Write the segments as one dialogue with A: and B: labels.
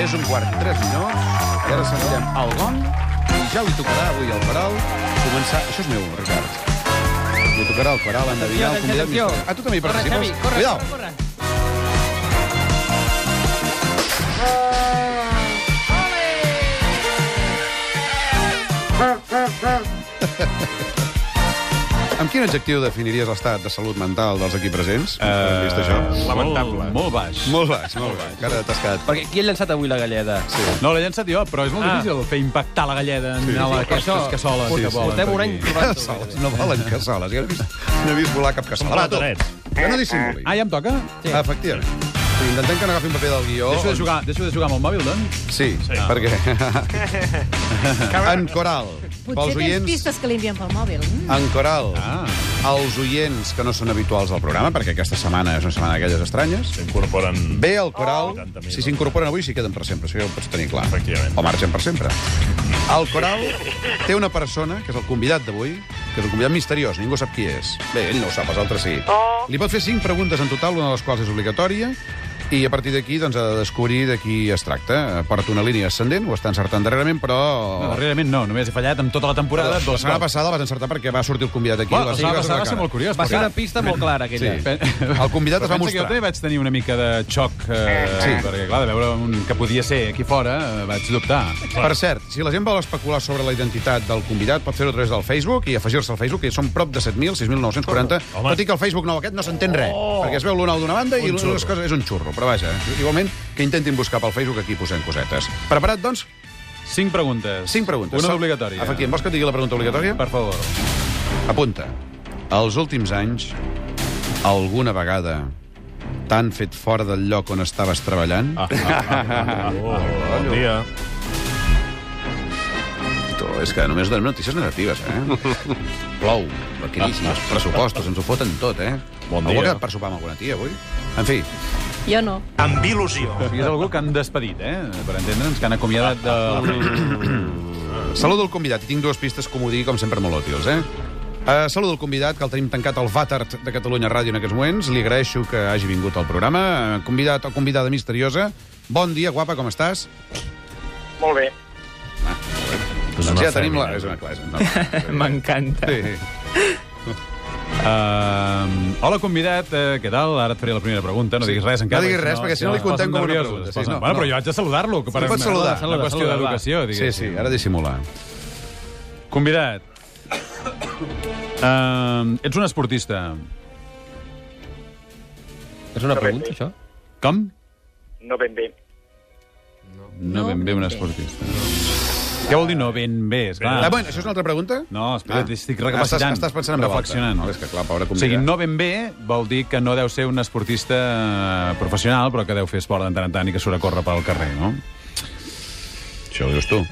A: És un quart i tres minuts. I ara sentirem el gong. I ja li tocarà avui al Peral començar... Això és meu, Ricard. Li tocarà al Peral endevinar el convidat
B: atenció.
A: misteri. A tu també hi
B: Corre, Xavi,
A: participes?
B: corre,
A: Cuidao.
B: corre, corre.
A: Amb quin adjectiu definiries l'estat de salut mental dels aquí presents? Uh... Vist això?
C: Lamentable.
D: Molt, molt baix. Eh, Molt...
A: Molt baix, molt baix. Encara t'has quedat...
B: Perquè qui ha llançat avui la galleda?
A: Sí.
D: No, l'he llançat jo, però és molt
B: Ah.
D: ah. difícil fer impactar la galleda en sí,
B: sí,
D: la,
B: per
D: aquestes
B: això
D: cassoles.
B: portem-
D: que volen
B: portem un
D: per
B: any
D: aquí.
B: provant.
A: Cassoles, no volen cassoles. Ja no he vist, no he vist volar cap cassola. Va, tu,
C: platerets.
A: Que no dissimuli.
D: Ah, ja em toca?
B: Sí.
A: Ah, Efectivament. Sí, intentem que no agafin paper del guió.
D: Deixo de
A: on-
D: jugar, deixo de jugar amb el mòbil, doncs?
A: Sí, sí. perquè... en coral.
E: Potser
A: Pels
E: tens
A: oients,
E: pistes que li envien pel mòbil. Mm.
A: en coral.
D: Ah.
A: Els oients que no són habituals al programa, perquè aquesta setmana és una setmana d'aquelles estranyes,
C: S'incorporen...
A: Bé, el coral,
C: Oh.
A: si s'incorporen avui, s'hi queden per sempre. Això ja ho pots tenir clar.
C: Efectivament.
A: O marxen per sempre. El coral té una persona, que és el convidat d'avui, que és un convidat misteriós, ningú sap qui és. Bé, ell no ho sap, els altres sí. Li pot fer cinc preguntes en total, una de les quals és obligatòria, i a partir d'aquí doncs, ha de descobrir de qui es tracta. Porta una línia ascendent, ho està encertant darrerament, però...
D: No, darrerament no, només he fallat amb tota la temporada.
A: Oh. La
D: dos
A: setmana
D: cops.
A: passada vas encertar perquè va sortir el convidat aquí. i
D: Bueno, la
A: vas dir
D: setmana
A: que
D: passada va
A: vas
D: ser
A: una
D: molt curiós.
B: Va ser
D: perquè-
B: una pista molt clara, aquella.
A: Sí.
B: Sí.
D: Pe-
A: El convidat es va
D: Però pensa que
A: mostrar.
D: Jo també vaig tenir una mica de xoc, eh,
A: Sí.
D: sí. perquè, clar, de veure un que podia ser aquí fora, eh, vaig dubtar.
A: Per cert, si la gent vol especular sobre la identitat del convidat, pot fer-ho a través del Facebook i afegir-se al Facebook, que són prop de 7.000, 6.940,
C: Home.
A: tot i que el Facebook nou aquest no s'entén res, perquè es veu l'una d'una banda i l'una de les coses és un xurro, però vaja, igualment que intentin buscar pel Facebook, aquí posem cosetes. Preparat, doncs?
D: Cinc preguntes.
A: Cinc preguntes.
D: Una
A: Sol-
D: obligatòria.
A: Efectivament, vols que et digui la pregunta obligatòria?
D: Per favor.
A: Apunta. Els últims anys, alguna vegada t'han fet fora del lloc on estaves treballant? Ah.
C: Oh, bon dia.
A: És que només donem notícies negatives, eh? Plou, la crisi, els pressupostos, ens ho foten tot, eh?
C: Bon
A: Algú
C: dia.
A: ha quedat per sopar amb alguna tia, avui? En fi,
E: Jo no.
C: Amb il·lusió.
D: O sigui, és algú que han despedit, eh? Per entendre'ns, que han
A: Ah,
D: acomiadat de...
A: saludo el convidat. I tinc dues pistes, com ho digui, com sempre, molt útils, eh? Uh, saludo el convidat, que el tenim tancat al Vàter de Catalunya Ràdio en aquests moments. Li agraeixo que hagi vingut al programa. Eh, Convidat o convidada misteriosa, bon dia, guapa, com estàs? Ah,
F: Molt bé.
A: Doncs
C: una
A: ja tenim la...
C: fèmina.
A: És una classe. No.
G: M'encanta.
A: Sí.
D: Uh, hola, convidat, uh, què tal? Ara et faré la primera pregunta, no diguis res encara.
A: No diguis
D: perquè
A: res, perquè si no li
D: es
A: contem
D: posen
A: com una
D: nerviosos,
A: pregunta,
D: es
A: sí,
D: posen-
A: no,
D: bueno,
A: no.
D: però jo haig de saludar-lo. que per-
A: pots saludar.
D: Una qüestió
B: Saluda,
D: d'educació,
A: sí,
D: diguéssim.
A: sí, ara dissimular.
D: Convidat, uh, ets un esportista.
B: És una pregunta, això?
D: Com?
F: No ben bé.
D: No,
E: No
D: ben bé un
E: ben bé.
D: esportista. Què vol dir no ben bé? Esclar.
A: Ah, bueno, això és una altra pregunta?
D: No, espera't, estic
A: Estàs,
D: recapacitant,
A: estàs pensant en veu alta.
D: reflexionant.
A: No, és que clar, pobre
D: O
A: convidat.
D: sigui, no ben bé vol dir que no deu ser un esportista eh, professional, però que deu fer esport de tant en tant i que surt a córrer pel carrer, no?
A: Això ho dius tu.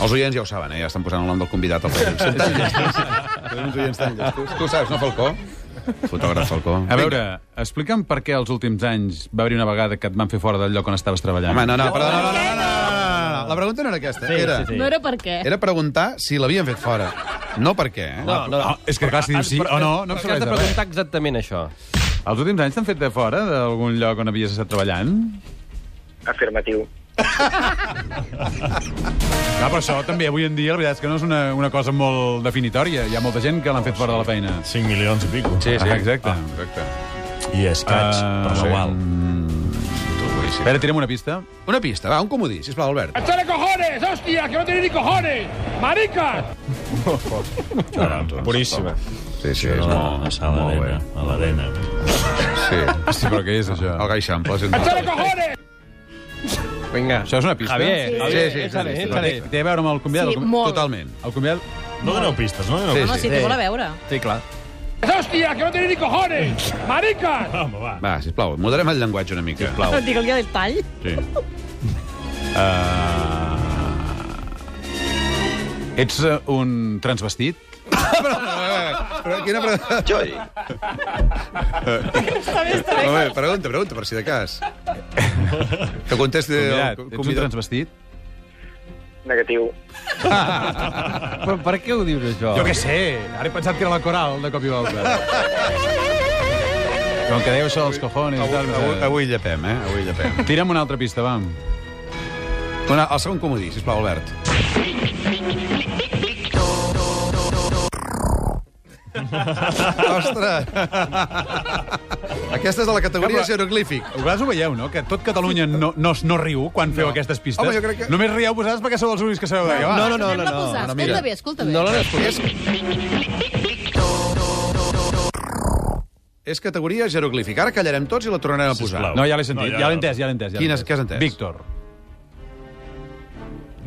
A: Els oients ja ho saben, eh? ja estan posant el nom del convidat al Facebook. Són tan llestos. Són uns oients tan llestos. Tu ho saps, no, Falcó? Fotògraf Falcó.
D: A veure, explica'm per què els últims anys va haver una vegada que et van fer fora del lloc on estaves treballant.
A: Home, no, no, perdó, no, no, no, no, no, no, no. La pregunta no era aquesta.
B: Sí,
A: era,
B: sí, sí.
E: No era per què.
A: era preguntar si l'havien fet fora. No per què, eh?
B: No, no.
D: Ah, és que clar, si dius sí o no, no
B: Però
D: em serveix
B: has
D: de
B: de
D: res.
B: preguntar exactament això.
D: Els últims anys t'han fet de fora d'algun lloc on havies estat treballant?
F: Afirmatiu.
D: Clar, però això també avui en dia, la veritat és que no és una, una cosa molt definitòria. Hi ha molta gent que l'han fet fora de la feina.
C: 5 milions i pico.
B: Sí, sí.
D: Ah, exacte.
A: Exacte.
C: I escaig,
D: Ah,
C: per
D: sí.
C: l'Oval.
A: Tu, boníssim.
D: Espera, tira'm una pista.
A: Una pista, va, un comodí, sisplau, Albert.
H: ¡Echale cojones! ¡Hostia! ¡Que no tiene ni cojones! ¡Maricas!
C: Caram, Puríssima.
A: Sí, sí, és molt,
C: doncs, a
A: molt bé.
C: l'Arena, a l'Arena.
A: Sí.
D: Ah, Sí, però què és això?
A: El Gaixample. Sí,
H: ¡Echale cojones!
B: Vinga.
D: Això és una pista?
B: Javier,
E: Sí.
B: Javier,
A: Sí, sí,
B: échale,
A: sí, sí.
B: échale.
D: Té a veure amb el convidat?
E: Sí,
D: el,
E: molt.
A: Totalment.
D: el convidat...
C: No doneu pistes, no doneu
A: Sí,
C: pistes.
E: Home, si té
B: Sí.
E: molt a veure.
B: Sí, clar.
H: ¡Hostia! ¡Que no tiene ni cojones! ¡Maricas!
C: Home, va.
A: Va, sisplau, moderem el llenguatge una mica. Sisplau.
E: Digue'l ja del tall.
A: Sí.
D: Ets eh, un transvestit?
A: Però quina pregunta... Joy. Home, pregunta, pregunta, per si de cas. Que contesti el
D: Convidat,
A: co-
D: ets un
A: convidat.
D: transvestit?
F: Negatiu.
B: Però per què ho
D: Oh.
B: dius, això?
D: Jo què sé, ara he pensat que era la coral, de cop i volta. Com que deu això dels cojones i
A: Avui,
D: tal... no sé.
A: avui, avui llepem, eh? Avui llepem.
D: Tira'm una altra pista, va.
A: Una, el segon comodí, sisplau, Albert. Ostres! Aquesta és de la categoria
D: Però-
A: jeroglífic.
D: Vosaltres ho veieu, no? Que tot Catalunya no, no, no riu quan feu aquestes pistes.
A: Home, jo crec que-
D: Només rieu vosaltres perquè sou els únics que sabeu de què va.
B: No, no, no,
E: Anem
B: no,
E: a
B: no.
E: posar.
A: no, mira.
E: escolta bé, escolta bé.
B: No l'han escoltat.
A: És... És categoria jeroglífica. Ara callarem tots i la tornarem a posar.
C: Sisplau.
D: No, ja l'he sentit,
C: No, ja-
D: ja l'he entès, ja l'he entès. Ja l'he
A: Quin és- què has entès?
D: Víctor.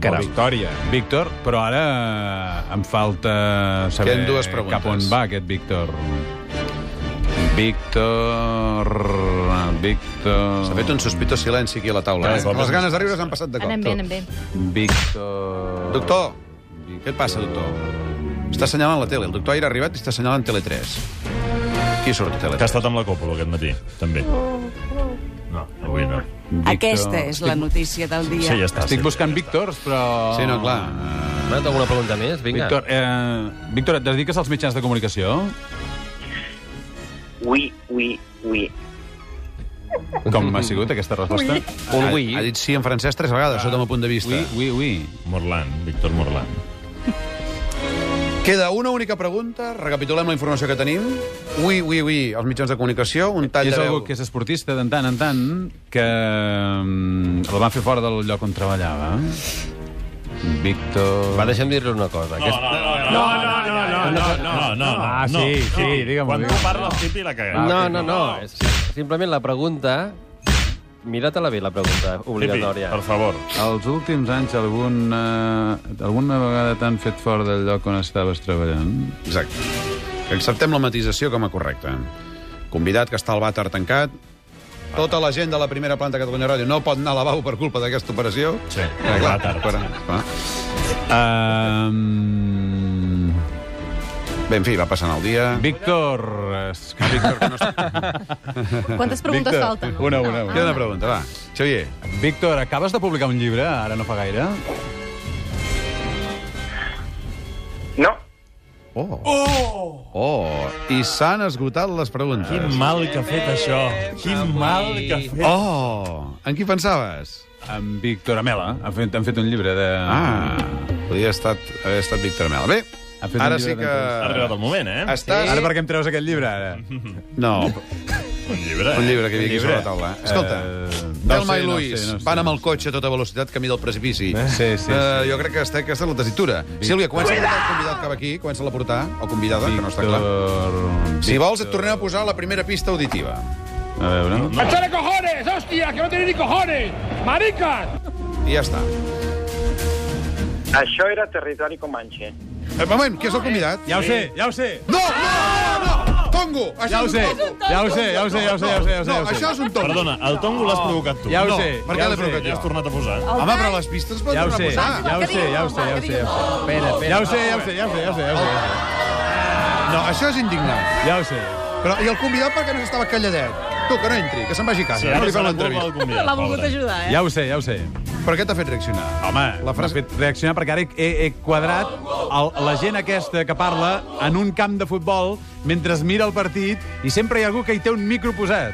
B: Caram.
D: Victòria. Víctor, però ara eh, em falta saber
A: Queden dues preguntes.
D: cap on va aquest Víctor. Víctor... Víctor...
A: S'ha fet un sospitós silenci aquí a la taula. Eh?
C: Clar,
A: Les ganes de riure s'han passat de cop.
E: Anem bé, anem bé.
D: Víctor...
A: Doctor, què et passa, doctor? Està assenyalant la tele. El doctor Aire ha arribat i està assenyalant Tele3. Qui surt a
C: Que ha
A: Tele3?
C: estat amb la Còpolo aquest matí, també. No, avui no.
D: Víctor.
G: Aquesta és la notícia del dia.
C: Sí, ja està.
D: Estic
C: sí.
D: buscant Víctors, però...
A: Ah, Sí, no, clar.
D: Ah.
B: M'ha alguna pregunta més? Vinga.
D: Víctor, eh, Víctor, et dediques als mitjans de comunicació?
F: Oui, oui, oui.
D: Com ha sigut aquesta resposta? Ui,
B: Un
A: Ha,
B: oui.
A: ha dit sí en francès tres vegades, sota el meu punt de vista.
D: ui, ui. ui.
C: Morlan, Víctor Morlan.
A: Queda una única pregunta, recapitulem la informació que tenim. Ui, ui, ui, els mitjans de comunicació, un tall
D: I és
A: de veu.
D: algú que és esportista de tant en tant que mm, el van fer fora del lloc on treballava. Víctor...
B: Va, deixa'm dir-li una cosa. No, no,
C: No, no, no, no, no, no, no.
D: Ah, sí, sí, digue'm-ho,
C: Quan tu
D: digue'm-ho.
C: parles, tipi la cagada.
B: no, no, no. És, simplement la pregunta... Mira-te-la bé, la pregunta
C: Tipi,
B: obligatòria.
C: per favor.
D: Els últims anys algun, eh, alguna vegada t'han fet fora del lloc on estaves treballant?
A: Exacte. Acceptem la matisació com a correcta. Convidat que està al vàter tancat, tota la gent de la primera planta de Catalunya Ràdio no pot anar a lavabo per culpa d'aquesta operació.
C: Sí,
A: Ah, clar,
C: vàter.
A: Però, clar.
D: Um...
A: Bé, en fi, va passant el dia.
D: Víctor... es- Víctor, que no
E: Quantes preguntes
D: Víctor,
E: falten?
D: una, una, una.
A: Queda una pregunta, va. Xavier,
D: Víctor, acabes de publicar un llibre, ara no fa gaire?
F: No,
A: Oh, i s'han esgotat les preguntes.
C: Quin mal que ha fet això. Quin mal que ha fet.
A: Oh, en qui pensaves?
D: Amb Víctor Amela. Han fet, han fet un llibre de...
A: Ah, podria haver estat, haver estat Víctor Mel. Bé,
D: Ha fet un
A: ara
D: llibre
A: sí que...
C: Ha arribat el moment, eh?
A: Estàs...
D: Ara per què em treus aquest llibre, ara?
A: No,
C: Un llibre.
A: un llibre que hi havia aquí
D: llibre.
A: sobre la taula. Escolta,
D: Eh,
A: uh,
D: no
A: Delma
D: sé,
A: i
D: no
A: Luis
D: sé, no sé.
A: van amb el cotxe a tota velocitat camí del precipici.
D: Eh? Sí, sí,
A: Eh, jo crec que està, aquesta és la tessitura. Sílvia, comença a portar el convidat cap aquí, comença a portar, o convidada, que no està clar.
D: Víctor...
A: Si vols, et tornem a posar la primera pista auditiva.
D: A veure...
H: ¡Echale cojones! ¡Hostia! ¡Que no tenéis ni cojones! ¡Maricas!
A: I ja està.
F: això era territori comanxe.
A: Eh, moment, qui és el convidat?
D: Ja ho sé, ja ho sé!
A: No, no, no! Tongo! Això
D: Ja
A: és
D: ho
A: un
D: sé,
A: tongo.
D: ja ho sé, ja ho sé, ja ho sé, ja ho sé, ja ho sé.
A: No,
D: ja ho sé.
A: això és un tongo.
C: Perdona, el tongo l'has provocat tu.
D: Oh, Ja ho
A: No,
D: sé,
A: per
D: ja
A: què
D: ho Ah,
A: l'he
D: sé.
A: provocat
C: L'has
A: jo?
C: tornat a posar.
A: Home, però les pistes es
D: Ja ho
A: poden
D: sé,
A: reposar.
D: ja ho sé, ja ho sé, ja ho sé. ja ho sé.
B: Espera, espera.
D: Ja ho sé, ja ho sé, ja ho sé, ja ho sé, ja ho sé.
A: No, això és indignant.
D: Ja ho sé.
A: Però, I el convidat perquè no s'estava calladet? Tu, que no entri, que se'n vagi a casa.
C: Sí,
A: no
C: ara
A: li fem
C: serà
A: l'entrevista.
C: culpa del convidat,
E: L'ha volgut
C: pobre.
E: ajudar, eh?
D: Ja ho sé, ja ho sé.
A: Però què t'ha fet reaccionar?
D: Home,
A: La
D: la
A: frase-
D: frase... fet reaccionar perquè ara he, he, he quadrat el, la gent aquesta que parla en un camp de futbol mentre es mira el partit i sempre hi ha algú que hi té un micro posat.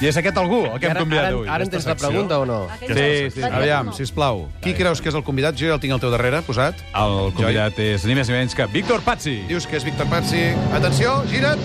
D: I és aquest algú el que hem
B: Ara,
D: convidat
B: ara,
D: avui.
B: ara entens la pregunta o no?
D: Sí, sí.
A: Aviam, sisplau. Qui creus que és el convidat? Jo ja el tinc al teu darrere, posat.
D: El convidat és ni més ni menys que Víctor Pazzi.
A: Dius que és Víctor Pazzi. Atenció, gira't.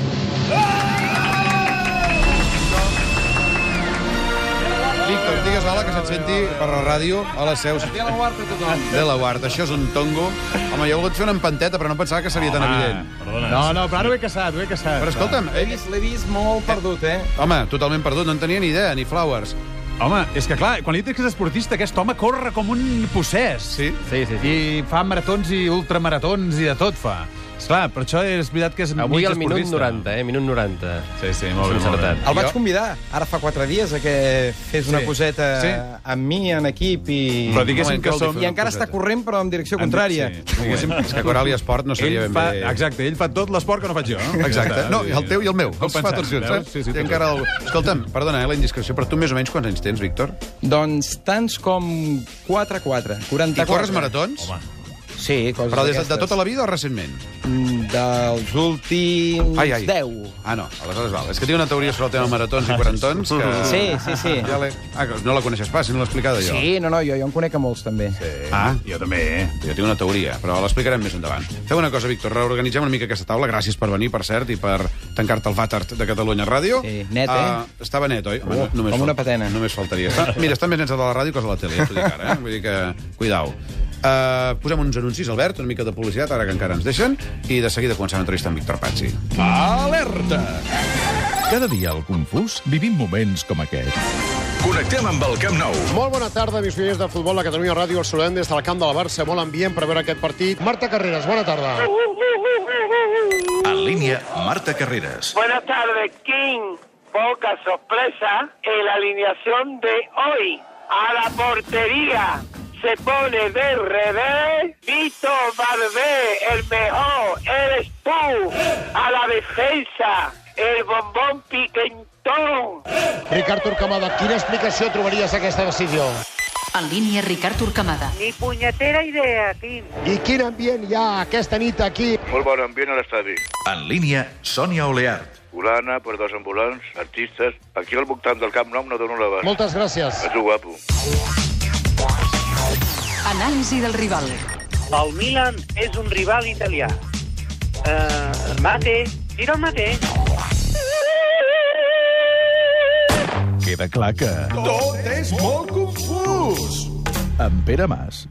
A: Víctor, digues hola, que se't senti per la ràdio a les seus de la guarda. Això és un tongo. Home, jo he volgut fer una empanteta, però no pensava que seria
D: Ah,
A: tan evident.
C: Perdona.
D: No, no, però ara ho he caçat, ho he caçat.
A: Però escolta'm, ell...
B: L'he vist molt perdut, eh?
A: Home, totalment perdut, no en tenia ni idea, ni flowers.
D: Home, és que clar, quan li dius que és esportista, aquest home corre com un possès.
A: Sí.
B: Sí, sí, sí.
D: I fa maratons i ultramaratons i de tot fa. Esclar, per això és veritat que és
B: Avui
D: mig
B: al minut
D: esportista.
B: 90, eh? Minut 90.
D: Sí, sí, molt bé, molt bé.
B: Encertat.
I: El vaig
A: Jo?
I: convidar ara fa quatre dies a que fes una
D: Sí.
I: coseta
D: Sí.
I: amb mi, en equip, i,
D: Però diguéssim
A: Moment,
D: que
A: cal dir
D: som...
I: i encara està corrent, però en direcció contrària.
D: Sí, diguéssim.
A: Diguéssim, és que Coral i Esport no
D: Ell
A: seria ben
D: fa,
A: bé...
D: exacte, ell fa tot l'esport que no faig jo. No?
A: Exacte.
D: Ja està,
A: No,
D: vull
A: i
D: dir,
A: el teu i el meu.
D: heu
A: Els fa
D: pensat,
A: tots junts,
D: veus?
A: saps?
D: Sí, sí,
A: I encara el... Escolta'm, perdona, eh, la indiscreció, però tu més o menys quants anys tens, Víctor?
I: Doncs tants com 4-4.
A: I
I: 44.
A: corres maratons?
C: Home,
I: Sí, coses
A: Però des de, de
I: d'aquestes.
A: tota la vida o recentment?
I: Mm, Dels últims
A: Ai, ai.
I: 10.
A: Ah, no, aleshores val. És que tinc una teoria sobre el tema maratons i quarantons que...
I: Sí, sí, sí.
A: Ja l'he- ah, que no la coneixes pas, si no l'he explicada jo.
I: Sí, no, no, jo, jo en conec a molts, també. Sí.
A: Ah, jo també, eh? Jo tinc una teoria, però l'explicarem més endavant. Fem una cosa, Víctor, reorganitzem una mica aquesta taula. Gràcies per venir, per cert, i per tancar-te el vàter de Catalunya Ràdio.
I: Sí, net, eh?
A: Ah, estava net, oi? Home, no-
I: com una
A: fal-
I: patena.
A: Només faltaria. Està, mira, està més net a la ràdio que a la tele, ja t'ho dic ara, eh? Vull dir que, cuidao. Uh, posem uns anuncis, Albert, una mica de publicitat, ara que encara ens deixen, i de seguida comencem l'entrevista amb Víctor Pazzi.
J: Cada dia al Confús vivim moments com aquest.
K: Connectem amb el Camp Nou.
H: Molt bona tarda, amics oients de futbol a Catalunya Ràdio. Els saludem des del camp de la Barça. Molt ambient per veure aquest partit. Marta Carreras, bona tarda.
K: En línia, Marta Carreras.
F: Buenas tardes, King. Poca sorpresa en la alineación de hoy. A la portería se pone de revés Vito Bardet, el mejor, eres tú. A la defensa, el bombón piquentón.
H: Ricard Turcamada, quina explicació trobaries a aquesta decisió?
G: En línia, Ricard Turcamada.
F: Ni puñetera idea, King.
H: I quin ambient hi ha aquesta nit aquí?
K: Molt bon ambient a l'estadi.
J: En línia, Sònia Oleart.
K: Colana, perdós ambulants, artistes... Aquí al voltant del Camp Nou no dono la base.
H: Moltes gràcies.
K: És guapo.
G: Anàlisi del rival.
F: El Milan és un rival italià. Uh, mate, tira el mate.
J: Queda clar que... Tot és molt confús! En Pere Mas